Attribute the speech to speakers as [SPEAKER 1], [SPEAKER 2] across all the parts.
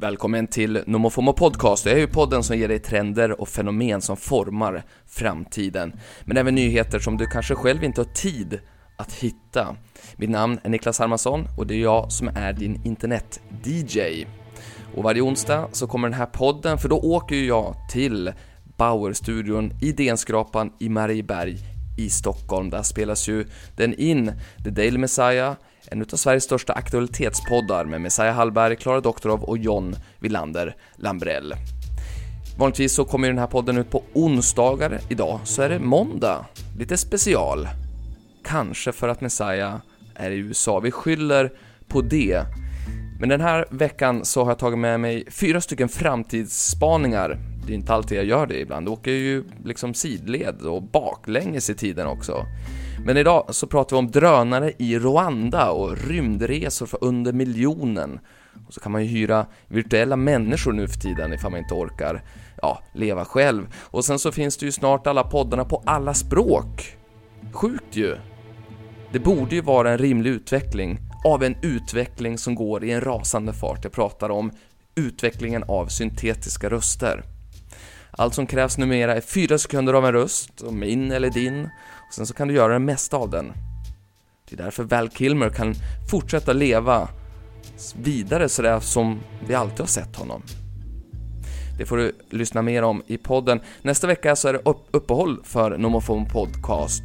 [SPEAKER 1] Välkommen till NomoFomo Podcast. Det är ju podden som ger dig trender och fenomen som formar framtiden. Men även nyheter som du kanske själv inte har tid att hitta. Mitt namn är Niklas Hermansson och det är jag som är din internet-DJ. Och varje onsdag så kommer den här podden, för då åker ju jag till Bauer-studion i Denskrapan i Marieberg i Stockholm. Där spelas ju den in, The Daily Messiah, en utav Sveriges största aktualitetspoddar med Messiah Hallberg, Klara Doktorov och John Wilander Lambrell. Vanligtvis så kommer ju den här podden ut på onsdagar. Idag så är det måndag, lite special. Kanske för att Messiah är i USA. Vi skyller på det. Men den här veckan så har jag tagit med mig fyra stycken framtidsspaningar. Det är inte alltid jag gör det ibland. Jag åker ju liksom sidled och baklänges i tiden också. Men idag så pratar vi om drönare i Rwanda och rymdresor för under miljonen. Och så kan man ju hyra virtuella människor nu för tiden ifall man inte orkar, ja, leva själv. Och sen så finns det ju snart alla poddarna på alla språk. Sjukt ju! Det borde ju vara en rimlig utveckling av en utveckling som går i en rasande fart. Jag pratar om utvecklingen av syntetiska röster. Allt som krävs numera är fyra sekunder av en röst, och min eller din, och sen så kan du göra det mesta av den. Det är därför Val Kilmer kan fortsätta leva vidare sådär som vi alltid har sett honom. Det får du lyssna mer om i podden. Nästa vecka så är det upp- uppehåll för Nomofon Podcast.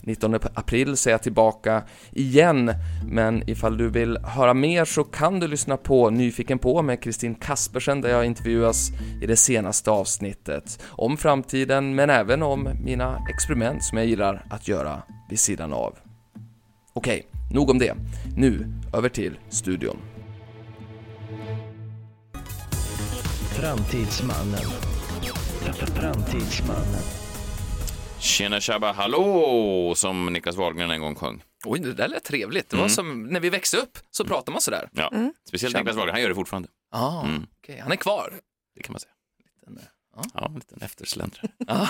[SPEAKER 1] 19 april så är jag tillbaka igen, men ifall du vill höra mer så kan du lyssna på Nyfiken på med Kristin Kaspersen där jag intervjuas i det senaste avsnittet om framtiden men även om mina experiment som jag gillar att göra vid sidan av. Okej, nog om det. Nu över till studion.
[SPEAKER 2] Framtidsmannen. Framtidsmannen.
[SPEAKER 3] Tjena tjabba hallå, som Niklas Wahlgren en gång sjöng.
[SPEAKER 1] Oj, det där lät trevligt. Det
[SPEAKER 3] Mm.
[SPEAKER 1] var som när vi växte upp så pratade man sådär.
[SPEAKER 3] Ja. Speciellt
[SPEAKER 1] Tjabba.
[SPEAKER 3] Niklas Wahlgren, han gör det fortfarande.
[SPEAKER 1] Ah, okej, Han är kvar.
[SPEAKER 3] Det kan man säga.
[SPEAKER 1] Den där.
[SPEAKER 3] Ja, en liten eftersläntrare.
[SPEAKER 1] Ja.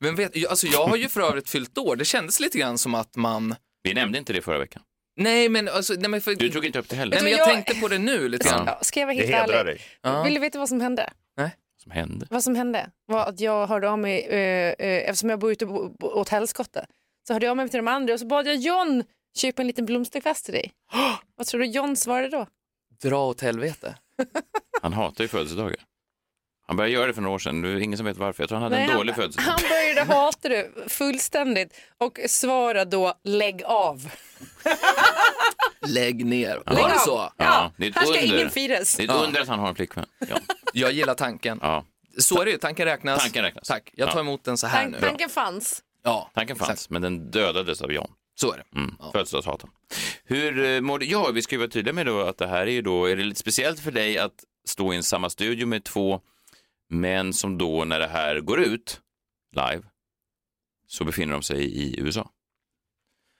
[SPEAKER 1] Men vet, jag- alltså jag har ju för övrigt fyllt år. Det kändes lite grann som att man...
[SPEAKER 3] Vi nämnde inte det förra veckan.
[SPEAKER 1] Nej, men, alltså, nej, men, för...
[SPEAKER 3] Du tog inte upp det heller.
[SPEAKER 1] nej, men jag,
[SPEAKER 4] Jag-
[SPEAKER 1] tänkte på det nu lite grann.
[SPEAKER 4] Ja, ska jag vara
[SPEAKER 5] Det
[SPEAKER 4] helt
[SPEAKER 5] hedrar
[SPEAKER 4] ärlig?
[SPEAKER 5] dig.
[SPEAKER 1] Ja.
[SPEAKER 4] Vill du veta vad som hände?
[SPEAKER 3] Vad som hände.
[SPEAKER 4] Vad som hände var att jag hörde av mig, eh, eh, eftersom jag bor ute och bo- bo- åt helskotta, så hörde jag av mig till de andra och så bad jag John köpa en liten blomsterkvast till dig. vad tror du John svarade då?
[SPEAKER 1] Dra åt helvete.
[SPEAKER 3] Han hatar ju födelsedagar. Han började göra det för några år sedan. Det är ingen som vet varför. Jag tror han hade en
[SPEAKER 4] Nej,
[SPEAKER 3] dålig
[SPEAKER 4] han,
[SPEAKER 3] födelsedag.
[SPEAKER 4] han började hata det fullständigt och svarade då lägg av.
[SPEAKER 1] Lägg ner.
[SPEAKER 3] Lägg
[SPEAKER 1] Var det
[SPEAKER 4] av.
[SPEAKER 1] så?
[SPEAKER 3] Ja, det är ett
[SPEAKER 4] här ska
[SPEAKER 3] under.
[SPEAKER 4] ingen firas.
[SPEAKER 3] Det är ett
[SPEAKER 1] Ja.
[SPEAKER 3] under att han har en flickvän. Ja.
[SPEAKER 1] Jag gillar tanken.
[SPEAKER 3] ja.
[SPEAKER 1] Så är det ju, tanken räknas.
[SPEAKER 3] Tanken räknas.
[SPEAKER 1] Tack, jag tar
[SPEAKER 3] Ja.
[SPEAKER 1] emot den så här
[SPEAKER 4] Tan-
[SPEAKER 1] nu.
[SPEAKER 4] tanken fanns.
[SPEAKER 1] Ja,
[SPEAKER 3] Tanken fanns,
[SPEAKER 1] exakt.
[SPEAKER 3] men den dödades av Jan.
[SPEAKER 1] så är det.
[SPEAKER 3] Mm.
[SPEAKER 1] Ja.
[SPEAKER 3] Födelsedagshatan. Hur eh, mår du? Ja, vi ska ju vara tydliga med då att det här är ju då, är det lite speciellt för dig att stå i en samma studio med två män som då när det här går ut live så befinner de sig i USA.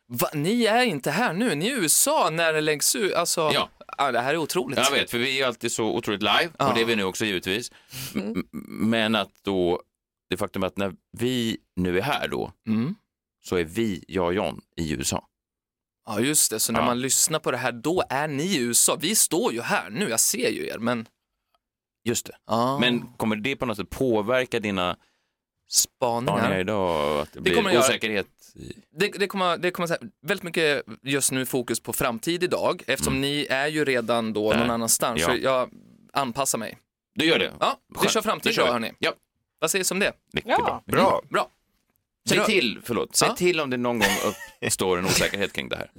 [SPEAKER 1] Va, ni är inte här nu, ni är i USA när det läggs ut. Alltså,
[SPEAKER 3] Ja.
[SPEAKER 1] ah, det här är otroligt.
[SPEAKER 3] Jag vet, för vi är ju alltid så otroligt live
[SPEAKER 1] Ja. Mm.
[SPEAKER 3] och det är vi nu också givetvis. M- m- Men att då, det faktum att när vi nu är här då
[SPEAKER 1] Mm.
[SPEAKER 3] så är vi, jag och John, i USA.
[SPEAKER 1] Ja, just det. Så när
[SPEAKER 3] Ja.
[SPEAKER 1] man lyssnar på det här, då är ni i USA. Vi står ju här nu, jag ser ju er, men...
[SPEAKER 3] Just det.
[SPEAKER 1] Ah,
[SPEAKER 3] Men kommer det på något sätt påverka dina
[SPEAKER 1] spaningar.
[SPEAKER 3] spaningar idag? Att det
[SPEAKER 1] Mm. Det
[SPEAKER 3] blir
[SPEAKER 1] kommer att göra.
[SPEAKER 3] osäkerhet? i-
[SPEAKER 1] det, det kommer, det kommer så här, väldigt mycket just nu fokus på framtid idag eftersom ni är ju redan då
[SPEAKER 3] Mm. Där.
[SPEAKER 1] någon annanstans.
[SPEAKER 3] Ja.
[SPEAKER 1] Så jag anpassar mig.
[SPEAKER 3] Du gör det?
[SPEAKER 1] Ja, vi
[SPEAKER 3] Skönt.
[SPEAKER 1] kör
[SPEAKER 3] Då
[SPEAKER 1] framtid
[SPEAKER 3] kör
[SPEAKER 1] då
[SPEAKER 3] vi.
[SPEAKER 1] hörni.
[SPEAKER 3] Ja,
[SPEAKER 1] Vad sägs om det?
[SPEAKER 3] mycket bra.
[SPEAKER 5] Bra.
[SPEAKER 1] Bra.
[SPEAKER 3] Säg
[SPEAKER 1] Dra-
[SPEAKER 3] till, förlåt, säg
[SPEAKER 1] Ja.
[SPEAKER 3] till om det någon gång uppstår en osäkerhet kring det här.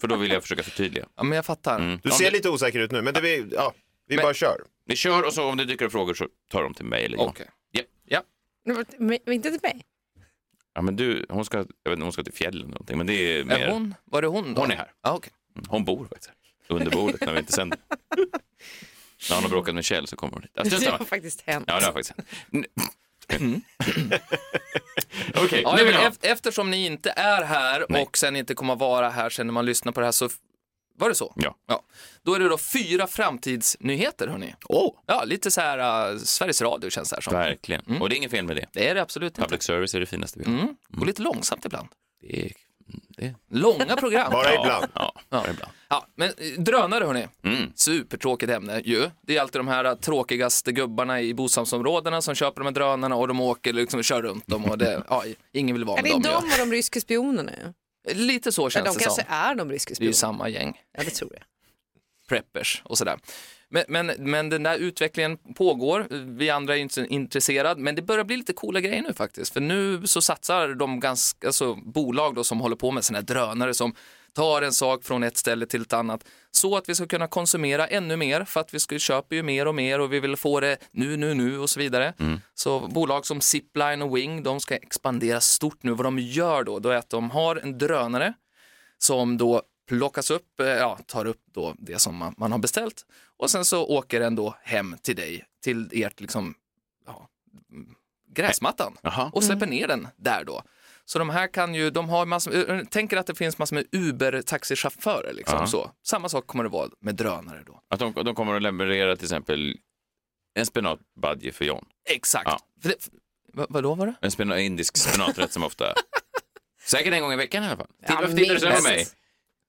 [SPEAKER 3] För då vill jag försöka förtydliga.
[SPEAKER 1] Ja, men jag fattar.
[SPEAKER 3] Mm.
[SPEAKER 5] Du
[SPEAKER 1] Ja,
[SPEAKER 5] ser
[SPEAKER 1] men-
[SPEAKER 5] lite osäker ut nu, men det vi, ja, vi
[SPEAKER 1] Men-
[SPEAKER 5] bara kör.
[SPEAKER 3] Vi kör och så om det dyker upp frågor så tar de till mig eller John.
[SPEAKER 1] Okej.
[SPEAKER 4] Men, men inte till mig.
[SPEAKER 3] Ja, men du, hon ska, jag vet inte, hon ska till fjällen eller någonting, men det är mer,
[SPEAKER 1] Är hon, var det hon då?
[SPEAKER 3] Hon är här.
[SPEAKER 1] Ja, okej.
[SPEAKER 3] Mm, hon bor faktiskt här. under bordet när vi inte sänder. när hon har bråkat med Kjell så kommer hon hit. Ja, strunt
[SPEAKER 4] Det
[SPEAKER 3] samma.
[SPEAKER 4] har faktiskt hänt.
[SPEAKER 3] ja, det har faktiskt hänt. Mm. Okej,
[SPEAKER 1] ja,
[SPEAKER 3] nu
[SPEAKER 1] men
[SPEAKER 3] vill jag ha.
[SPEAKER 1] ef- Eftersom ni inte är här
[SPEAKER 3] Nej.
[SPEAKER 1] och sen inte kommer att vara här sen när man lyssnar på det här så f- var det så?
[SPEAKER 3] Ja.
[SPEAKER 1] ja. Då är det då fyra framtidsnyheter hörni.
[SPEAKER 3] Åh,
[SPEAKER 1] Ja, lite så här äh, Sveriges Radio känns det här som.
[SPEAKER 3] Mm. verkligen. Och det är inget fel med det.
[SPEAKER 1] Det är det absolut inte.
[SPEAKER 3] Public service är det finaste vi har.
[SPEAKER 1] Mm. Och lite långsamt ibland.
[SPEAKER 3] Det är Det.
[SPEAKER 1] Långa program.
[SPEAKER 2] Bara ibland.
[SPEAKER 3] Ja,
[SPEAKER 1] Ja.
[SPEAKER 3] bara ibland.
[SPEAKER 1] Ja, men eh, drönare hörni.
[SPEAKER 3] Mm.
[SPEAKER 1] Supertråkigt ämne ju. Det är alltid de här eh, tråkigaste gubbarna i bostadsområdena som köper de här drönarna och de åker liksom och kör runt dem och det, ja, ingen vill vara
[SPEAKER 4] Är
[SPEAKER 1] med
[SPEAKER 4] det
[SPEAKER 1] dem.
[SPEAKER 4] de
[SPEAKER 1] ju.
[SPEAKER 4] och de ryska spionerna? Ja.
[SPEAKER 1] Lite så
[SPEAKER 4] Ja,
[SPEAKER 1] känns
[SPEAKER 4] de
[SPEAKER 1] det
[SPEAKER 4] kanske
[SPEAKER 1] som.
[SPEAKER 4] är de ryska
[SPEAKER 1] Det är ju
[SPEAKER 4] spionerna.
[SPEAKER 1] samma gäng,
[SPEAKER 4] Ja, det tror jag.
[SPEAKER 1] preppers och sådär. Men, men, men den där utvecklingen pågår, vi andra är ju inte så intresserade, men det börjar bli lite coola grejer nu faktiskt. För nu så satsar de ganska, alltså bolag då som håller på med sådana här drönare som tar en sak från ett ställe till ett annat så att vi ska kunna konsumera ännu mer för att vi ska, köper ju mer och mer och vi vill få det nu, nu, nu och så vidare. Så bolag som Zipline och Wing, de ska expandera stort nu. Vad de gör då, då är att de har en drönare som då plockas upp, eh, ja, tar upp då det som man, man har beställt och sen så åker den då hem till dig, till ert liksom, ja, mm, gräsmattan
[SPEAKER 3] Jaha. Mm.
[SPEAKER 1] och släpper ner den där då. Så de här kan ju, de har massor, eh, tänker att det finns massor med Uber-taxichaufförer liksom
[SPEAKER 3] Ja.
[SPEAKER 1] så. Samma sak kommer det vara med drönare då.
[SPEAKER 3] Att de, de kommer att leverera till exempel en spenatbadge för John.
[SPEAKER 1] Exakt.
[SPEAKER 3] Ja.
[SPEAKER 1] För det, vad, vadå var det?
[SPEAKER 3] En spena, indisk spenaträtt som ofta... Säkert en gång i veckan i alla fall.
[SPEAKER 4] Ja,
[SPEAKER 3] Titta- Varför tittar du så här på mig?
[SPEAKER 4] minst.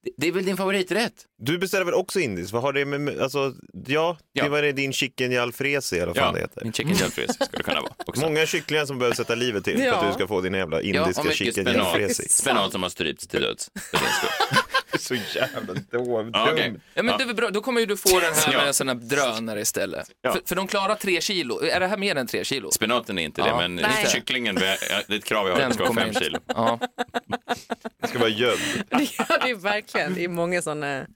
[SPEAKER 3] Det- Det är väl din favoriträtt?
[SPEAKER 2] Du beställer väl också indiskt? Vad har det med- med, alltså, ja,
[SPEAKER 3] Ja.
[SPEAKER 2] det var det din chicken i alfresi eller vad fan det heter.
[SPEAKER 3] min chicken jalfrezi skulle det kunna vara. Också.
[SPEAKER 2] Många kycklingar som behöver sätta livet till för
[SPEAKER 4] Ja.
[SPEAKER 2] att du ska få din
[SPEAKER 3] Ja,
[SPEAKER 2] jävla indiska
[SPEAKER 3] och mycket
[SPEAKER 2] chicken i
[SPEAKER 3] spenat.
[SPEAKER 2] alfresi.
[SPEAKER 3] Spenat som har strypts till döds. För din skull. Mm.
[SPEAKER 2] Så jävla dum.
[SPEAKER 3] Ja, okej.
[SPEAKER 1] Ja, men
[SPEAKER 3] Ja.
[SPEAKER 1] Det är väl bra. Då kommer ju du få den här
[SPEAKER 3] Ja.
[SPEAKER 1] med en sån här drönare istället.
[SPEAKER 3] Ja.
[SPEAKER 1] För, för de klarar tre kilo. Är det här mer än tre kilo?
[SPEAKER 3] Spenaten är inte det,
[SPEAKER 1] Ja.
[SPEAKER 3] men
[SPEAKER 4] Nej.
[SPEAKER 3] kycklingen, det är ett krav jag har,
[SPEAKER 1] Den
[SPEAKER 3] det ska vara
[SPEAKER 1] kommer
[SPEAKER 3] fem
[SPEAKER 1] inte.
[SPEAKER 3] kilo.
[SPEAKER 1] Ja.
[SPEAKER 2] Det ska vara gömd.
[SPEAKER 4] Ja, det är verkligen. Det är många sådana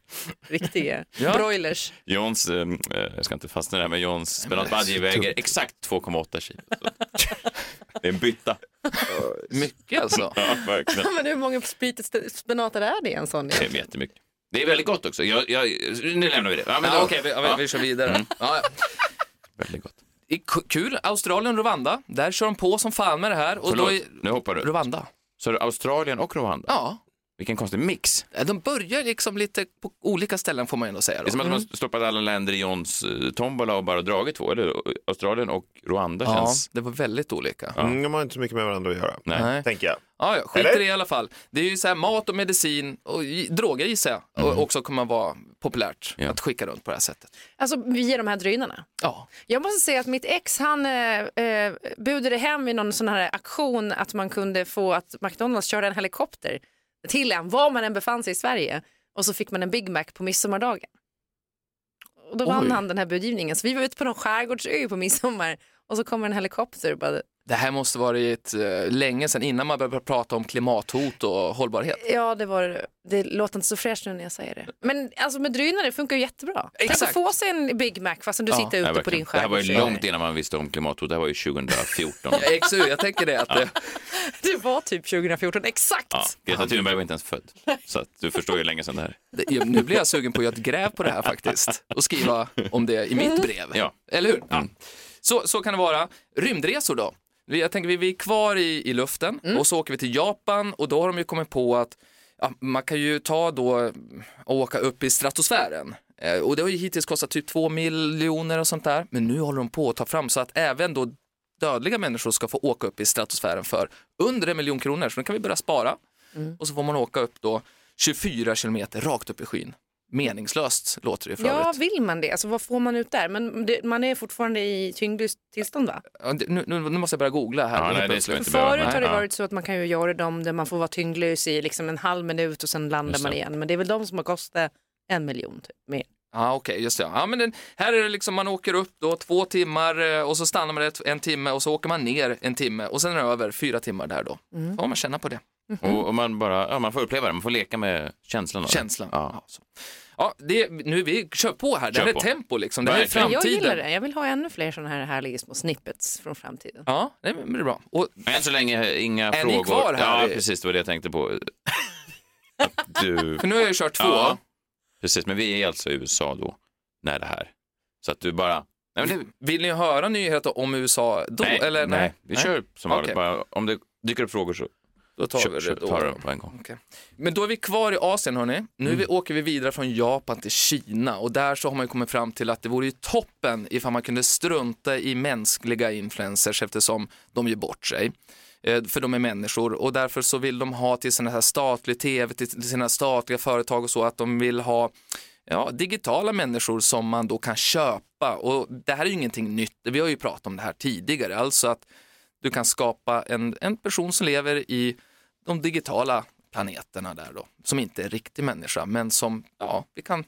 [SPEAKER 4] riktiga
[SPEAKER 1] Ja.
[SPEAKER 4] broilers.
[SPEAKER 3] Johns, eh, eh, jag ska inte fastna i det här, men Johns spenatbadge väger exakt 2,8 kilo. Det är en bytta.
[SPEAKER 1] Mycket alltså.
[SPEAKER 3] Ja, verkligen.
[SPEAKER 4] Men hur många spritet- spenater är det i en sån?
[SPEAKER 3] Det är jättemycket. Det är väldigt gott också. Jag, jag, nu lämnar vi det. Ja, men
[SPEAKER 1] Ja, Mm.
[SPEAKER 3] då-
[SPEAKER 1] Okej, vi,
[SPEAKER 3] ja,
[SPEAKER 1] vi, vi kör vidare. Ja.
[SPEAKER 3] Väldigt gott.
[SPEAKER 1] Det är ku- kul. Australien, Rwanda. Där kör de på som fan med det här. Och då
[SPEAKER 3] Förlåt,
[SPEAKER 1] är...
[SPEAKER 3] nu hoppar du.
[SPEAKER 1] Rwanda.
[SPEAKER 3] Så är det Australien och Rwanda?
[SPEAKER 1] Ja,
[SPEAKER 3] Vilken konstig mix.
[SPEAKER 1] de börjar liksom lite på olika ställen får man ändå säga.
[SPEAKER 3] Det är
[SPEAKER 1] Då. Mm.
[SPEAKER 3] som att man stoppat alla länder i Johns eh, tombola och bara dragit två. Eller Australien och Rwanda
[SPEAKER 1] Ja,
[SPEAKER 3] känns...
[SPEAKER 1] det var väldigt olika.
[SPEAKER 2] Mm, de har inte så mycket med varandra att göra,
[SPEAKER 3] Nej.
[SPEAKER 1] Nej.
[SPEAKER 2] tänker jag.
[SPEAKER 1] Ja, ja, skit i
[SPEAKER 2] Eller?
[SPEAKER 1] det i alla fall. Det är ju så här mat och medicin och i- droger gissar jag och också kommer vara populärt
[SPEAKER 3] Ja.
[SPEAKER 1] att skicka runt på det här sättet.
[SPEAKER 4] Alltså via de här drynarna.
[SPEAKER 1] Ja,
[SPEAKER 4] Jag måste säga att mitt ex han eh, eh, budade hem i någon sån här aktion att man kunde få att McDonalds körde en helikopter till en var man än befann sig i Sverige och så fick man en Big Mac på midsommardagen. Och då vann
[SPEAKER 1] Oj.
[SPEAKER 4] han den här budgivningen så vi var ute på någon skärgårdsö på midsommar och så kommer en helikopter och bara,
[SPEAKER 1] det här måste varit eh, länge sedan innan man började prata om klimathot och hållbarhet.
[SPEAKER 4] ja det var det låter inte så fräscht nu när jag säger det. Men alltså med drynare funkar ju jättebra. Tänk
[SPEAKER 1] Exakt.
[SPEAKER 4] att få sig en Big Mac fastän du
[SPEAKER 1] Ja,
[SPEAKER 4] sitter
[SPEAKER 3] Nej,
[SPEAKER 4] ute på
[SPEAKER 3] verkligen.
[SPEAKER 4] din
[SPEAKER 3] det här var
[SPEAKER 4] skärgårdsö.
[SPEAKER 3] ju långt innan man visste om klimathotet. Det här var ju 2014.
[SPEAKER 1] Ja, Exakt, Eh, jag tänker det att det,
[SPEAKER 4] Det var typ 2014, exakt.
[SPEAKER 3] Ja, Greta Thunberg var inte ens född. Så att du förstår ju hur länge sedan det här är.
[SPEAKER 1] det, nu blir jag sugen på att göra ett gräv på det här faktiskt och skriva om det i mitt brev.
[SPEAKER 3] Ja.
[SPEAKER 1] Eller hur? Ja. Så, så kan det vara. Rymdresor då? Vi- Jag tänker vi, vi är kvar i, i luften och så åker vi till Japan och då har de ju kommit på att ja, man kan ju ta då och åka upp i stratosfären. Eh, Och det har ju hittills kostat typ 2 miljoner och sånt där. Men nu håller de på att ta fram så att även då dödliga människor ska få åka upp i stratosfären för under en miljon kronor. Så nu kan vi börja spara. Och så får man åka upp då 24 kilometer rakt upp i skyn. Meningslöst låter det för
[SPEAKER 4] Ja,
[SPEAKER 1] övrigt.
[SPEAKER 4] vill man det? Alltså, vad får man ut där? Men det, man är fortfarande i tyngdlyst tillstånd va?
[SPEAKER 1] Ja, det- Nu, nu, nu måste jag börja googla här.
[SPEAKER 3] Ja,
[SPEAKER 1] helt
[SPEAKER 3] nej, det ska
[SPEAKER 1] plötsligt.
[SPEAKER 3] vi inte behöva.
[SPEAKER 4] Förut har det
[SPEAKER 3] Nej, ja.
[SPEAKER 4] varit så att man kan ju göra dem där man får vara tyngdlös i liksom en halv minut och sen landar
[SPEAKER 3] Just
[SPEAKER 4] man
[SPEAKER 3] det.
[SPEAKER 4] igen. Men det är väl de som har kostat en miljon typ, mer.
[SPEAKER 1] Ja, okej, just det. Ja, men den, här är det liksom, man åker upp då två timmar eh, och så stannar man ett, en timme och så åker man ner en timme och sen är det över fyra timmar där då.
[SPEAKER 4] Mm.
[SPEAKER 1] Får man känna på det,
[SPEAKER 3] Och, och man, bara, ja, man får uppleva det, man får leka med känslan. av det.
[SPEAKER 1] känslan.
[SPEAKER 3] Ja.
[SPEAKER 1] Ja, så. ja det, nu vi kör på här, det
[SPEAKER 3] Kör
[SPEAKER 1] här är
[SPEAKER 3] på.
[SPEAKER 1] tempo liksom, det här är
[SPEAKER 3] Verkligen.
[SPEAKER 4] Jag
[SPEAKER 1] framtiden.
[SPEAKER 4] gillar det. Jag vill ha ännu fler sådana här härliga små snippets från framtiden.
[SPEAKER 1] Ja, nej, men det är bra. Och,
[SPEAKER 3] Än så länge inga
[SPEAKER 1] Är ni
[SPEAKER 3] frågor.
[SPEAKER 1] kvar här?
[SPEAKER 3] Ja, precis, det var det jag tänkte på. Att Du...
[SPEAKER 1] för nu har jag ju kört två.
[SPEAKER 3] Ja. Precis, men vi är alltså i USA då, när det här. Så att du bara... Nej, men det,
[SPEAKER 1] Vill ni höra nyheter om USA då?
[SPEAKER 3] nej,
[SPEAKER 1] eller,
[SPEAKER 3] nej, vi kör som vanligt.
[SPEAKER 1] Okej.
[SPEAKER 3] Bara, om det dyker upp frågor så
[SPEAKER 1] Då tar vi det
[SPEAKER 3] Köp,
[SPEAKER 1] då.
[SPEAKER 3] tar den på en gång.
[SPEAKER 1] Okej. Men då är vi kvar i Asien hörni. Nu vi, åker vi vidare från Japan till Kina och där så har man ju kommit fram till att det vore ju toppen ifall man kunde strunta i mänskliga influencers eftersom de gör bort sig. Eh, För de är människor och därför så vill de ha till sina här statliga tv, till till sina statliga företag och så att de vill ha ja, digitala människor som man då kan köpa. Och det här är ju ingenting nytt, vi har ju pratat om det här tidigare, alltså att du kan skapa en, en person som lever i de digitala planeterna där då, som inte är riktig människa, men som ja, vi kan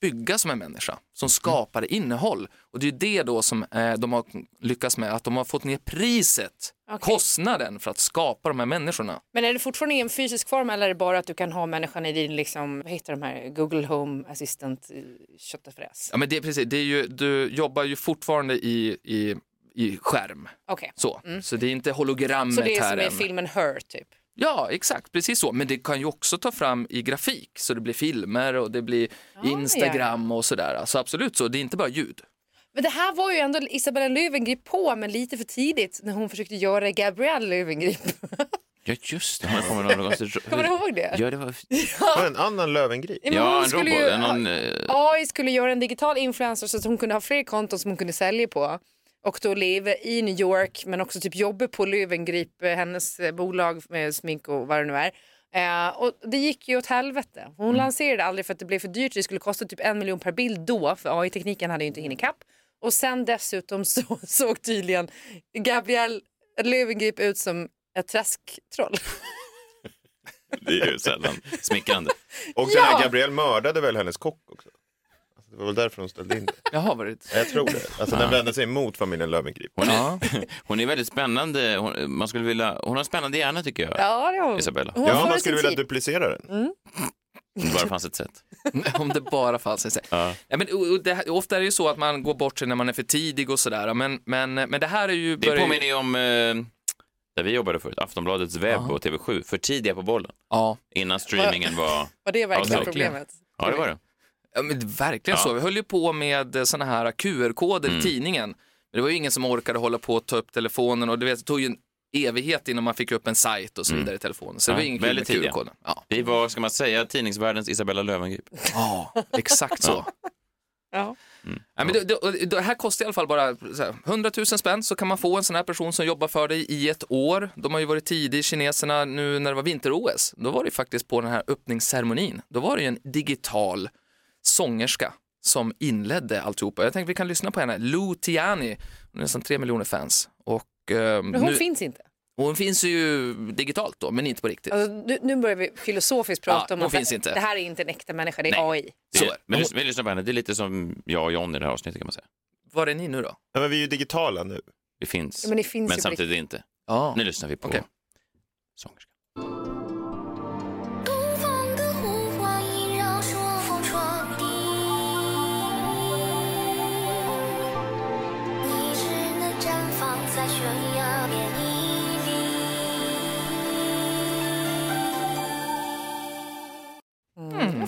[SPEAKER 1] bygga som en människa,
[SPEAKER 4] Mm.
[SPEAKER 1] som skapar innehåll. Och det är ju det då som eh, de har lyckats med, att de har fått ner priset,
[SPEAKER 4] Okej.
[SPEAKER 1] kostnaden för att skapa de här människorna.
[SPEAKER 4] Men är det fortfarande i en fysisk form eller är det bara att du kan ha människan i din, liksom, vad heter de här, Google Home Assistant eh, köttfräs?
[SPEAKER 1] Ja, men det är precis, det är ju, du jobbar ju fortfarande i, i, i skärm,
[SPEAKER 4] Okej,
[SPEAKER 1] så. Så det är inte hologrammet
[SPEAKER 4] Mm. så det är
[SPEAKER 1] här
[SPEAKER 4] som i
[SPEAKER 1] än.
[SPEAKER 4] filmen Her typ?
[SPEAKER 1] Ja, exakt, precis så. Men det kan ju också ta fram i grafik, så det blir filmer och det blir
[SPEAKER 4] Ah,
[SPEAKER 1] Instagram och sådär. Så absolut så, det är inte bara ljud.
[SPEAKER 4] Men det här var ju ändå Isabella Löwengrip på men lite för tidigt när hon försökte göra Gabrielle Löwengrip.
[SPEAKER 3] Ja, just det. Man kommer någon gång.
[SPEAKER 4] Kommer du ihåg det?
[SPEAKER 3] Ja, det var...
[SPEAKER 2] Var det en annan Lövengrip?
[SPEAKER 4] Nej, men
[SPEAKER 3] ja
[SPEAKER 4] hon
[SPEAKER 3] en
[SPEAKER 4] skulle
[SPEAKER 3] robot.
[SPEAKER 4] ju-
[SPEAKER 3] en Någon, eh,
[SPEAKER 4] AI skulle göra en digital influencer så att hon kunde ha fler konton som hon kunde sälja på och då leva i New York men också typ jobba på Löwengrip, eh, hennes eh, bolag med smink och vad det nu är. Eh, och det gick ju åt helvete. Hon lanserade aldrig för att det blev för dyrt. Det skulle kosta typ en miljon per bild då för AI-tekniken hade ju inte hinnit kapp. Och sen dessutom så såg tydligen Gabrielle Löwengrip ut som ett träsktroll.
[SPEAKER 3] det är ju sällan smickrande.
[SPEAKER 2] Och
[SPEAKER 4] Ja!
[SPEAKER 2] den här Gabriel mördade väl hennes kock också? Alltså, det var väl därför hon ställde in det.
[SPEAKER 1] Jaha, var det...
[SPEAKER 2] Jag tror det. Alltså den vände sig emot familjen Lövengrip.
[SPEAKER 3] Hon är,
[SPEAKER 1] Ja.
[SPEAKER 3] hon är väldigt spännande. Hon, man skulle vilja, hon har en spännande hjärna tycker jag.
[SPEAKER 4] Ja, det var
[SPEAKER 3] Isabella.
[SPEAKER 4] Hon var
[SPEAKER 2] Ja,
[SPEAKER 4] före
[SPEAKER 2] man
[SPEAKER 4] sin
[SPEAKER 2] skulle vilja typ-
[SPEAKER 4] tid.
[SPEAKER 2] duplicera den.
[SPEAKER 3] Om det bara fanns ett sätt.
[SPEAKER 1] Om det bara fanns en säng.
[SPEAKER 3] Ja.
[SPEAKER 1] Ja, men, och, och det, här- ofta är det ju så att man går bort sig när man är för tidig och sådär. Men, men, men det här är ju...
[SPEAKER 3] Det
[SPEAKER 1] börjar ju-
[SPEAKER 3] påminner ju om eh, där vi jobbade förut, Aftonbladets webb
[SPEAKER 1] Aha.
[SPEAKER 3] och TV7. För tidiga på bollen.
[SPEAKER 1] Ja.
[SPEAKER 3] Innan streamingen var...
[SPEAKER 4] Var det verkligen
[SPEAKER 3] verkligen.
[SPEAKER 4] problemet?
[SPEAKER 3] Ja, det var det.
[SPEAKER 1] Ja, men verkligen
[SPEAKER 3] Ja. Mm.
[SPEAKER 1] så. Vi höll ju på med sådana här QR-koder i tidningen. Men det var ju ingen som orkade hålla på och ta upp telefonen och du vet, det tog ju en evighet innan man fick upp en sajt och så vidare i telefonen. Så det var
[SPEAKER 3] Mm. Ja,
[SPEAKER 1] ju ingen kul med
[SPEAKER 3] väldigt tidiga.
[SPEAKER 1] QR-koden. Ja.
[SPEAKER 3] Vi var, ska man säga, tidningsvärldens Isabella Löwengrip.
[SPEAKER 1] ja, exakt så.
[SPEAKER 4] Ja.
[SPEAKER 1] Ja, men det, det, och det här kostar i alla fall bara så här, 100 000 spänn så kan man få en sån här person som jobbar för dig i ett år. De har ju varit tidig, kineserna, nu när det var vinter-OS. Då var det ju faktiskt på den här öppningsceremonin. Då var det ju en digital sångerska som inledde alltihopa. Jag tänkte vi kan lyssna på henne, Lou Tiani. Hon har nästan 3 miljoner fans. Och, eh,
[SPEAKER 4] Men hon
[SPEAKER 1] nu,
[SPEAKER 4] finns inte.
[SPEAKER 1] hon finns ju digitalt då, men inte på riktigt.
[SPEAKER 4] Alltså, nu, nu börjar vi filosofiskt prata
[SPEAKER 1] Ja,
[SPEAKER 4] om
[SPEAKER 1] hon
[SPEAKER 4] att
[SPEAKER 1] finns inte.
[SPEAKER 4] det här är inte en äkta människa, det är
[SPEAKER 3] Nej.
[SPEAKER 4] AI.
[SPEAKER 3] Det,
[SPEAKER 1] Så är det.
[SPEAKER 3] men lys- vi lyssnar på henne. Det är lite som jag och John i det här avsnittet kan man säga.
[SPEAKER 1] Var är ni nu då?
[SPEAKER 2] Ja, men vi är ju digitala nu.
[SPEAKER 3] Det finns,
[SPEAKER 4] Ja, men det finns ju på
[SPEAKER 3] samtidigt inte.
[SPEAKER 1] Ja.
[SPEAKER 3] Nu lyssnar vi på
[SPEAKER 1] Okej.
[SPEAKER 3] sångerskan.
[SPEAKER 5] 东方的呼唤萦绕朔风传递，你只能绽放在悬崖边屹立。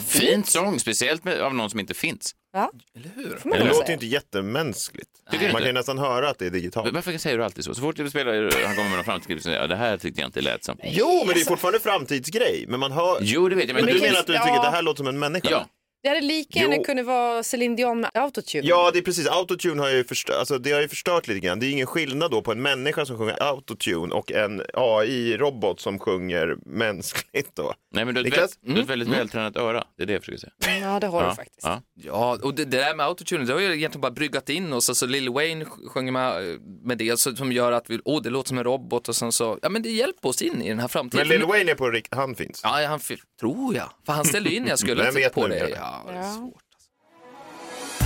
[SPEAKER 3] Fint sång, speciellt med, av någon som inte finns.
[SPEAKER 4] Ja,
[SPEAKER 1] Eller hur?
[SPEAKER 4] får man
[SPEAKER 2] Det
[SPEAKER 4] väl
[SPEAKER 2] låter ju
[SPEAKER 4] säga.
[SPEAKER 2] inte jättemänskligt.
[SPEAKER 3] Tycker du
[SPEAKER 2] Man kan ju
[SPEAKER 3] inte?
[SPEAKER 2] nästan höra att det är digitalt.
[SPEAKER 3] Varför säger du alltid så? Så fort du spelar, han kommer med någon framtidsgrej, så säger jag, det här tyckte jag inte lät som.
[SPEAKER 2] Jo, men det är fortfarande framtidsgrej. Men man hör...
[SPEAKER 3] Jo, det vet jag, men,
[SPEAKER 2] Men du
[SPEAKER 3] du...
[SPEAKER 2] menar att du
[SPEAKER 4] Ja.
[SPEAKER 2] tycker att det här låter som en människa?
[SPEAKER 3] Ja,
[SPEAKER 4] Det hade lika gärna
[SPEAKER 2] Jo.
[SPEAKER 4] kunnat vara Celine Dion med autotune.
[SPEAKER 2] Ja, det är precis. Autotune har ju, förstö- alltså, det har ju förstört lite grann. Det är ingen skillnad då på en människa som sjunger autotune och en AI-robot som sjunger mänskligt då.
[SPEAKER 3] Nej, men du har ett,
[SPEAKER 2] Niklas?
[SPEAKER 3] väl, du har ett väldigt vältränat öra. Det är det jag försöker säga.
[SPEAKER 4] ja Mm. det har du
[SPEAKER 3] Ja,
[SPEAKER 4] faktiskt.
[SPEAKER 3] ja.
[SPEAKER 1] Ja, och det, det där med autotune, det har ju egentligen bara bryggat in oss. Alltså Lil Wayne sj- sjunger med, med det så, som gör att vi, åh det låter som en robot och sen så, ja men det hjälper oss in i den här framtiden.
[SPEAKER 2] Men Lil Wayne är på rikt... Han finns.
[SPEAKER 1] Ja, han fi- tror jag. För han ställde ju in jag skulle
[SPEAKER 2] Vem vet
[SPEAKER 1] på
[SPEAKER 2] nu?
[SPEAKER 1] det. Ja, det är
[SPEAKER 4] Ja.
[SPEAKER 1] svårt. Alltså.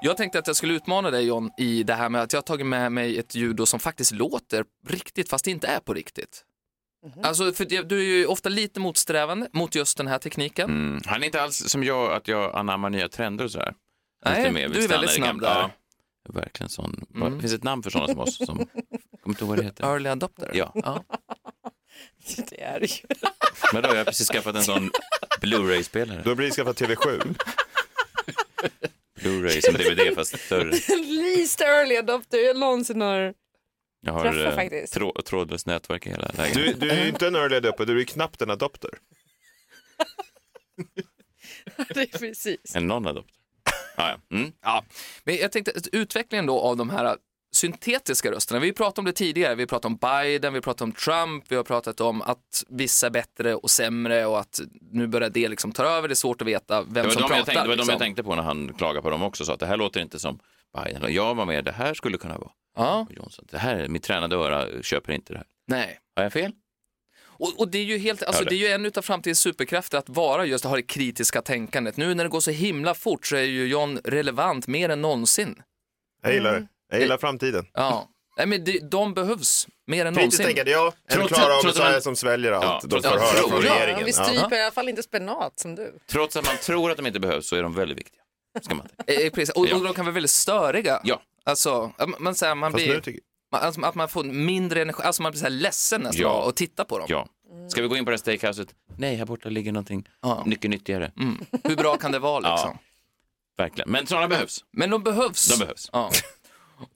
[SPEAKER 1] Jag tänkte att jag skulle utmana dig John i det här med att jag har tagit med mig ett ljud då som faktiskt låter riktigt fast det inte är på riktigt. Alltså, för det- du är ju ofta lite motsträvande mot just den här tekniken.
[SPEAKER 3] Mm. Han är inte alls som jag, att jag anammar nya trender och sådär.
[SPEAKER 1] Nej,
[SPEAKER 3] Lite mer vill
[SPEAKER 1] du är
[SPEAKER 3] stanna
[SPEAKER 1] väldigt
[SPEAKER 3] i det
[SPEAKER 1] snabb
[SPEAKER 3] gamla.
[SPEAKER 1] där. Mm.
[SPEAKER 3] Ja, jag är verkligen sån. Bara- Det finns ett namn för sådana som oss. Som... Kommer inte ihåg vad det heter.
[SPEAKER 1] Early adopter?
[SPEAKER 3] Ja.
[SPEAKER 1] Ja.
[SPEAKER 4] det är det ju.
[SPEAKER 3] Men då har jag precis skaffat en sån Blu-ray-spelare.
[SPEAKER 2] Då blir det skaffat TV7.
[SPEAKER 3] Blu-ray som DVD fast större.
[SPEAKER 4] Least early adopter jag någonsin har.
[SPEAKER 3] Jag har
[SPEAKER 4] Träffar
[SPEAKER 3] eh,
[SPEAKER 4] faktiskt.
[SPEAKER 3] trå- trådlöst nätverk i hela
[SPEAKER 2] Du,
[SPEAKER 3] lägenheten.
[SPEAKER 2] du är ju inte en early adopter, du är ju knappt en adopter.
[SPEAKER 4] Det är precis.
[SPEAKER 3] En non-adopter. Ah, ja. mm.
[SPEAKER 1] Ja, men jag tänkte att utvecklingen då av de här syntetiska rösterna. Vi pratade om det tidigare. Vi pratade om Biden, vi pratade om Trump, vi har pratat om att vissa är bättre och sämre och att nu börjar det liksom ta över. Det är svårt att veta vem
[SPEAKER 3] Det var,
[SPEAKER 1] som
[SPEAKER 3] de
[SPEAKER 1] pratar.
[SPEAKER 3] jag tänkte, det var de
[SPEAKER 1] liksom.
[SPEAKER 3] jag tänkte på när han klagade på dem också. Så att det här låter inte som Biden. Och jag var med, det här skulle kunna vara
[SPEAKER 1] Ja,
[SPEAKER 3] Johnson. Det här, mitt tränade öra köper inte det här.
[SPEAKER 1] nej.
[SPEAKER 3] Har jag fel?
[SPEAKER 1] Och, och det är ju helt, alltså
[SPEAKER 3] Ja,
[SPEAKER 1] det
[SPEAKER 3] det.
[SPEAKER 1] är ju en utav framtidens superkrafter att vara just ha det kritiska tänkandet. Nu när det går så himla fort så är ju John relevant mer än någonsin.
[SPEAKER 2] Jag gillar
[SPEAKER 3] Mm.
[SPEAKER 2] det. Jag gillar framtiden.
[SPEAKER 1] Ja, nej men de, de behövs mer än
[SPEAKER 2] Kritiskt
[SPEAKER 1] någonsin.
[SPEAKER 2] tänkande, ja. En
[SPEAKER 3] Trots-
[SPEAKER 2] klara
[SPEAKER 3] trots att
[SPEAKER 2] Messiah
[SPEAKER 3] man-
[SPEAKER 2] som sväljer
[SPEAKER 3] Ja,
[SPEAKER 2] allt de
[SPEAKER 3] trots
[SPEAKER 2] får
[SPEAKER 3] att-
[SPEAKER 2] höra från
[SPEAKER 3] Ja,
[SPEAKER 4] Ja,
[SPEAKER 2] regeringen.
[SPEAKER 4] vi stryper i alla fall inte spenat som du.
[SPEAKER 3] Trots att man tror att de inte behövs så är de väldigt viktiga. Ska man tänka.
[SPEAKER 1] Eh, precis. Och,
[SPEAKER 3] Ja.
[SPEAKER 1] och de kan vara väldigt störiga.
[SPEAKER 3] Ja.
[SPEAKER 1] Alltså, att man, så här, man
[SPEAKER 2] Fast
[SPEAKER 1] blir...
[SPEAKER 2] nu tycker
[SPEAKER 1] Man, alltså, att man får mindre energi, alltså man blir så här ledsen nästan
[SPEAKER 3] Ja.
[SPEAKER 1] av att titta på dem.
[SPEAKER 3] Ja. Ska vi gå in på det här steakhouset? Nej, här borta ligger någonting
[SPEAKER 1] Ja.
[SPEAKER 3] mycket nyttigare.
[SPEAKER 1] Mm. Hur bra kan det vara liksom?
[SPEAKER 3] Ja. Verkligen. Men sådana behövs.
[SPEAKER 1] Men de behövs.
[SPEAKER 3] De behövs.
[SPEAKER 1] Ja.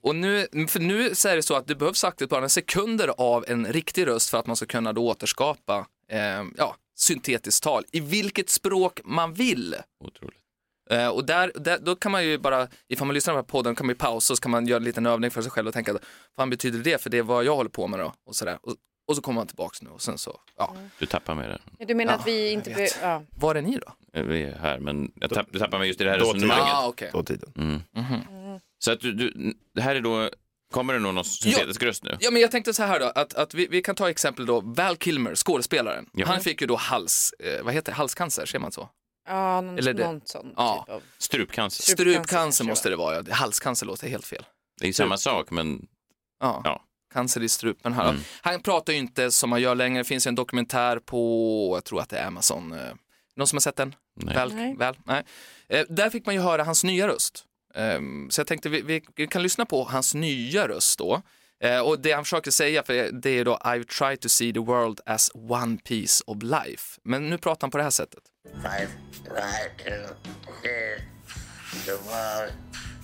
[SPEAKER 1] Och nu, för nu så är det så att det behövs faktiskt bara sekunder av en riktig röst för att man ska kunna då återskapa eh, ja, syntetiskt tal i vilket språk man vill.
[SPEAKER 3] Otroligt.
[SPEAKER 1] Eh, och där, där, då kan man ju bara, ifall man lyssnar på den här podden kan man ju pausa och så kan man göra en liten övning för sig själv och tänka, vad fan betyder det för det är vad jag håller på med då? Och, sådär. och, och så kommer man tillbaks nu och sen så, ja.
[SPEAKER 3] Du tappar mig där.
[SPEAKER 4] Du menar
[SPEAKER 1] Ja,
[SPEAKER 4] att vi inte...
[SPEAKER 1] jag vet.
[SPEAKER 4] Be- ja.
[SPEAKER 1] Var är ni då?
[SPEAKER 3] Eh, Vi är här, men jag tapp, du tappar mig just i det här
[SPEAKER 2] Då
[SPEAKER 3] resonemanget. Mm.
[SPEAKER 2] tiden.
[SPEAKER 1] Ah, okej.
[SPEAKER 2] jag. Dåtiden.
[SPEAKER 1] Mhm.
[SPEAKER 3] Så att du, du, det här är då, kommer det nog någon syntetisk röst nu?
[SPEAKER 1] Ja, men jag tänkte så här då, att, att vi, vi kan ta exempel då, Val Kilmer, skådespelaren.
[SPEAKER 3] Ja.
[SPEAKER 1] Han fick ju då hals, eh, vad heter det, halscancer, ser man så?
[SPEAKER 4] Ja, någon,
[SPEAKER 1] Eller det.
[SPEAKER 4] någon sån
[SPEAKER 1] Ja.
[SPEAKER 4] typ av...
[SPEAKER 3] Strupcancer.
[SPEAKER 4] Strup- Strupcancer kanske,
[SPEAKER 1] Strupcancer måste det vara, ja. halscancer låter helt fel.
[SPEAKER 3] Det är ju samma sak, men
[SPEAKER 1] Ja.
[SPEAKER 3] Ja. Mm.
[SPEAKER 1] Cancer i strupen här. Han pratar ju inte som han gör längre, det finns ju en dokumentär på, jag tror att det är Amazon. eh, Någon som har sett den?
[SPEAKER 3] Nej.
[SPEAKER 1] Väl,
[SPEAKER 4] Nej.
[SPEAKER 1] Väl? Nej. Eh, där fick man ju höra hans nya röst. Ehm, så jag tänkte vi, vi kan lyssna på hans nya röst då. Eh, och det han försöker säga, för det är då I've tried to see the world as one piece of life. Men nu pratar han på det här sättet.
[SPEAKER 6] I've tried to see the world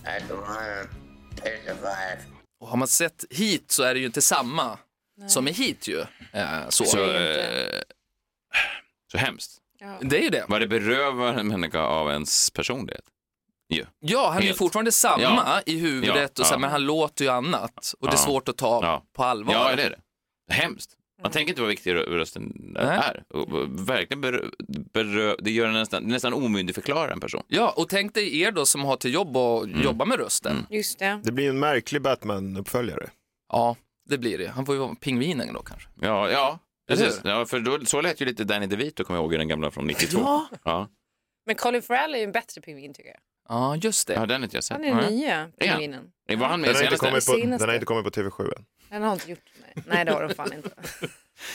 [SPEAKER 6] and the world is alive.
[SPEAKER 1] Och har man sett hit så är det ju inte samma som är hit ju. Eh, så.
[SPEAKER 3] så,
[SPEAKER 4] är det
[SPEAKER 3] eh, så hemskt.
[SPEAKER 1] Det är ju det.
[SPEAKER 3] Vad det berövar en människa av ens personlighet. Ju.
[SPEAKER 1] Ja, han är ju
[SPEAKER 3] Helt.
[SPEAKER 1] fortfarande samma
[SPEAKER 3] Ja.
[SPEAKER 1] i huvudet,
[SPEAKER 3] Ja,
[SPEAKER 1] och så här,
[SPEAKER 3] ja.
[SPEAKER 1] men han låter ju annat. Och det är
[SPEAKER 3] Ja.
[SPEAKER 1] svårt att ta
[SPEAKER 3] Ja.
[SPEAKER 1] på allvar.
[SPEAKER 3] Ja, det är det. Hemskt. Man tänker inte vad viktig rö- rösten
[SPEAKER 1] Nej.
[SPEAKER 3] är. Och, och, verkligen berö, berö, det gör en nästan, det nästan omyndigförklarar en person.
[SPEAKER 1] Ja, och tänk dig er då som har till jobb att
[SPEAKER 3] Mm.
[SPEAKER 1] jobba med rösten.
[SPEAKER 4] Just det.
[SPEAKER 2] Det blir en märklig Batman-uppföljare.
[SPEAKER 1] Ja, det blir det. Han får ju vara pingvinen då kanske.
[SPEAKER 3] Ja, ja
[SPEAKER 1] Eller
[SPEAKER 3] precis. Ja, för då, så lät ju lite Danny DeVito, kommer jag ihåg, i den gamla från 92.
[SPEAKER 1] Ja.
[SPEAKER 3] ja.
[SPEAKER 4] Men Colin Farrell är ju en bättre pingvin tycker jag.
[SPEAKER 1] Ja, just det.
[SPEAKER 3] Ja, den har inte jag sett.
[SPEAKER 4] Han är den
[SPEAKER 3] Nej.
[SPEAKER 4] nya
[SPEAKER 3] Är han?
[SPEAKER 4] pingvinen.
[SPEAKER 3] Var han med i
[SPEAKER 2] Den har, inte
[SPEAKER 3] senaste?
[SPEAKER 2] kommit på,
[SPEAKER 4] Senaste.
[SPEAKER 2] den har inte kommit på TV7 än.
[SPEAKER 4] Den har inte gjort nej. Nej, det har de fan inte.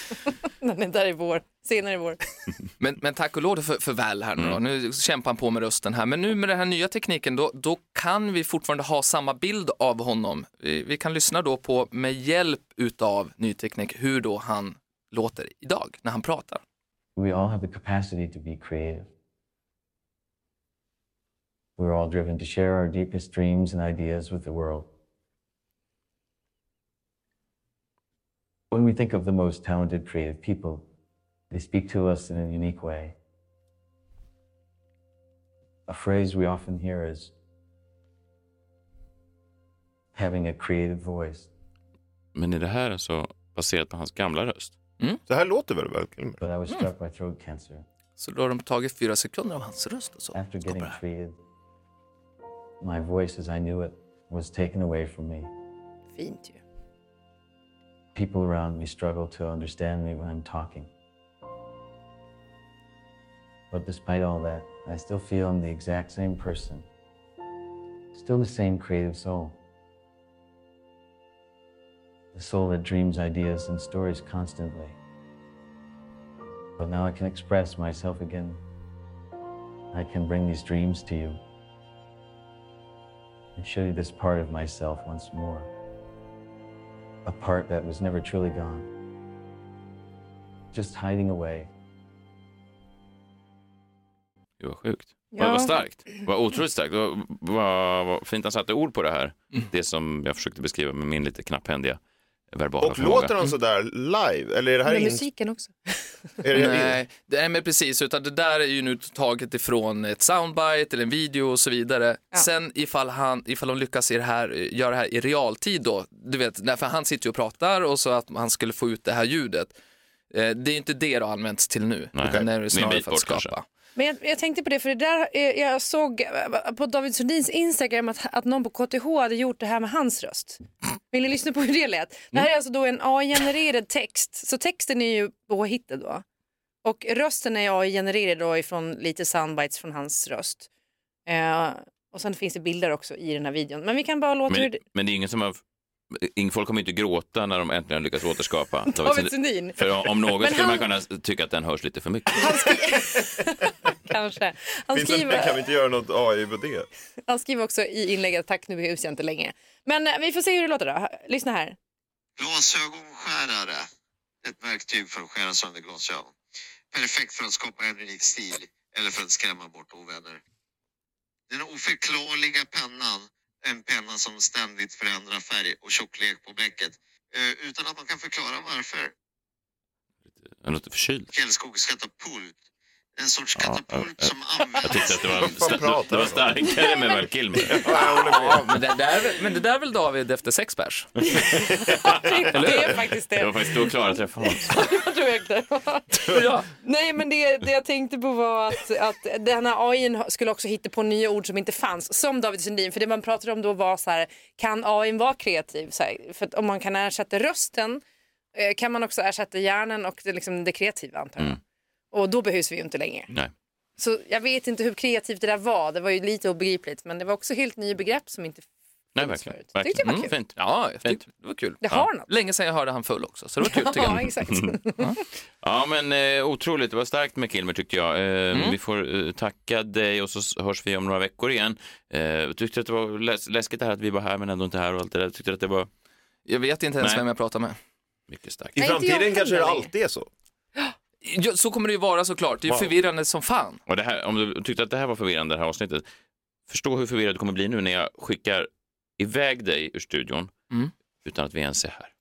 [SPEAKER 4] den är där i vår. Senare i vår.
[SPEAKER 1] Men, men tack och lov för, för väl här nu då.
[SPEAKER 3] Mm.
[SPEAKER 1] Nu kämpar han på med rösten här. Men nu med den här nya tekniken då, då kan vi fortfarande ha samma bild av honom. Vi, vi kan lyssna då på, med hjälp utav ny teknik, hur då han låter idag när han pratar.
[SPEAKER 7] We all have the capacity to be creative. We're all driven to share our deepest dreams and ideas with the world. When we think of the most talented creative people, they speak to us in a unique way. A phrase we often hear is having a creative voice,
[SPEAKER 3] Men är det här alltså baserat på hans gamla röst?
[SPEAKER 2] Så här låter väl Val Kilmer?
[SPEAKER 7] but I was struck by throat cancer.
[SPEAKER 1] Så då har de tagit fyra sekunder av hans röst och så.
[SPEAKER 7] After
[SPEAKER 1] Stoppar
[SPEAKER 7] getting
[SPEAKER 1] det här.
[SPEAKER 7] treated, my voice as I knew it was taken away from me.
[SPEAKER 4] Fint ju.
[SPEAKER 7] People around me struggle to understand me when I'm talking. But despite all that, I still feel I'm the exact same person, still the same creative soul. The soul that dreams ideas and stories constantly. But now I can express myself again. I can bring these dreams to you and show you this part of myself once more. A part that was never truly gone. just hiding away.
[SPEAKER 3] Det var sjukt.
[SPEAKER 4] Ja.
[SPEAKER 3] Vad, vad starkt. Vad otroligt starkt. Vad, vad, vad fint han satte ord på det här.
[SPEAKER 2] Mm.
[SPEAKER 3] Det som jag försökte beskriva med min lite knapphändiga verbala
[SPEAKER 2] Och
[SPEAKER 3] förmåga.
[SPEAKER 2] låter de sådär live? Eller är det här
[SPEAKER 4] Med
[SPEAKER 2] in...
[SPEAKER 4] musiken också.
[SPEAKER 2] Är det...
[SPEAKER 1] Nej, det är men precis, utan det där är ju nu taget ifrån ett soundbite eller en video och så vidare.
[SPEAKER 4] Ja.
[SPEAKER 1] Sen ifall, han, ifall de lyckas i det här, göra det här i realtid då, du vet, nej, för han sitter ju och pratar och så att han skulle få ut det här ljudet. Eh, Det är ju inte det det har använts till nu,
[SPEAKER 3] Nej.
[SPEAKER 1] utan det är
[SPEAKER 3] Med en
[SPEAKER 1] ju snarare
[SPEAKER 3] bit
[SPEAKER 1] för att
[SPEAKER 3] bort kanske.
[SPEAKER 1] skapa.
[SPEAKER 4] Men jag, jag tänkte på det, för det där, eh, jag såg eh, på David Sundins Instagram att, att någon på KTH hade gjort det här med hans röst. Vill ni lyssna på hur det lät? Det
[SPEAKER 2] Mm.
[SPEAKER 4] här är alltså då en AI-genererad text, så texten är ju påhittad då. Och rösten är AI-genererad då ifrån lite soundbites från hans röst. Eh, och sen finns det bilder också i den här videon. Men vi kan bara låta hur
[SPEAKER 3] Men,
[SPEAKER 4] det-
[SPEAKER 3] men det är ingen som har... ing- Folk kommer inte gråta när de äntligen lyckas återskapa
[SPEAKER 4] David Sundin.
[SPEAKER 3] För om- om något skulle
[SPEAKER 4] han-
[SPEAKER 3] man kunna tycka att den hörs lite för mycket.
[SPEAKER 4] Han skri- Kanske. Han
[SPEAKER 2] Finns det-
[SPEAKER 4] skriver...
[SPEAKER 2] Kan vi inte göra något AI på det?
[SPEAKER 4] Han skriver också i inlägget tack nu behövs jag inte längre. Men eh, vi får se hur det låter då. Lyssna här.
[SPEAKER 8] Glasögonskärare. Ett verktyg för att skära sönder glasögon. Perfekt för att skapa en unik stil eller för att skrämma bort ovänner. Den oförklarliga pennan, en penna som ständigt förändrar färg och tjocklek på bläcket eh, utan att man kan förklara varför.
[SPEAKER 3] Den låter förkyld.
[SPEAKER 8] Fjällskogs katapult. En sorts
[SPEAKER 3] Ja,
[SPEAKER 8] katapult
[SPEAKER 3] eh, eh,
[SPEAKER 8] som används...
[SPEAKER 3] Jag tyckte att det var,
[SPEAKER 2] Vad fan pratar
[SPEAKER 3] det var
[SPEAKER 2] de om?
[SPEAKER 3] starkare med Val Kilmer.
[SPEAKER 1] Ja, men, det där, är väl- men det där är väl David efter sex pers?
[SPEAKER 4] det är faktiskt
[SPEAKER 3] Det var
[SPEAKER 4] det.
[SPEAKER 3] faktiskt då Klara träffade honom.
[SPEAKER 4] Jag tror jag inte.
[SPEAKER 1] Ja.
[SPEAKER 4] Nej men det, det jag tänkte på var att, att den här AI skulle också hitta på nya ord som inte fanns. Som David Sundin. För det man pratade om då var så här. Kan AI vara kreativ? Så här, för att om man kan ersätta rösten eh, kan man också ersätta hjärnan och det, liksom, det kreativa antar jag. Och då behövs vi ju inte längre.
[SPEAKER 3] Mm. Nej.
[SPEAKER 4] Så jag vet inte hur kreativt det där var. Det var ju lite obegripligt. Men det var också helt nya begrepp som inte
[SPEAKER 3] Nej,
[SPEAKER 4] Finns
[SPEAKER 3] verkligen. Mm,
[SPEAKER 4] förut. Tyckte jag var kul.
[SPEAKER 3] Fint.
[SPEAKER 1] Ja, jag tyckte, det var kul.
[SPEAKER 4] Det har något.
[SPEAKER 1] Länge sedan jag hörde han full också, så det var kul tycker
[SPEAKER 4] Ja,
[SPEAKER 1] jag. Mm.
[SPEAKER 4] exakt.
[SPEAKER 3] Ja, men eh, otroligt. Det var starkt med Kilmer tyckte jag. Eh,
[SPEAKER 4] Mm.
[SPEAKER 3] Vi får eh, tacka dig och så s- hörs vi om några veckor igen. Eh, tyckte att det var läs läskigt det här att vi var här men ändå inte här och allt det där. Tyckte att det var
[SPEAKER 1] Jag vet inte ens
[SPEAKER 3] Nej.
[SPEAKER 1] vem jag pratar med.
[SPEAKER 3] mycket starkt.
[SPEAKER 2] I
[SPEAKER 4] Nej, inte jag
[SPEAKER 2] framtiden kanske det
[SPEAKER 4] heller.
[SPEAKER 2] alltid är så.
[SPEAKER 1] Ja, så kommer det ju vara såklart, det är ju
[SPEAKER 2] Wow.
[SPEAKER 1] förvirrande som fan.
[SPEAKER 3] Och det här, om du tyckte att det här var förvirrande, det här avsnittet. Förstå hur förvirrad du kommer bli nu när jag skickar iväg dig ur studion
[SPEAKER 1] Mm.
[SPEAKER 3] utan att vi ens är här.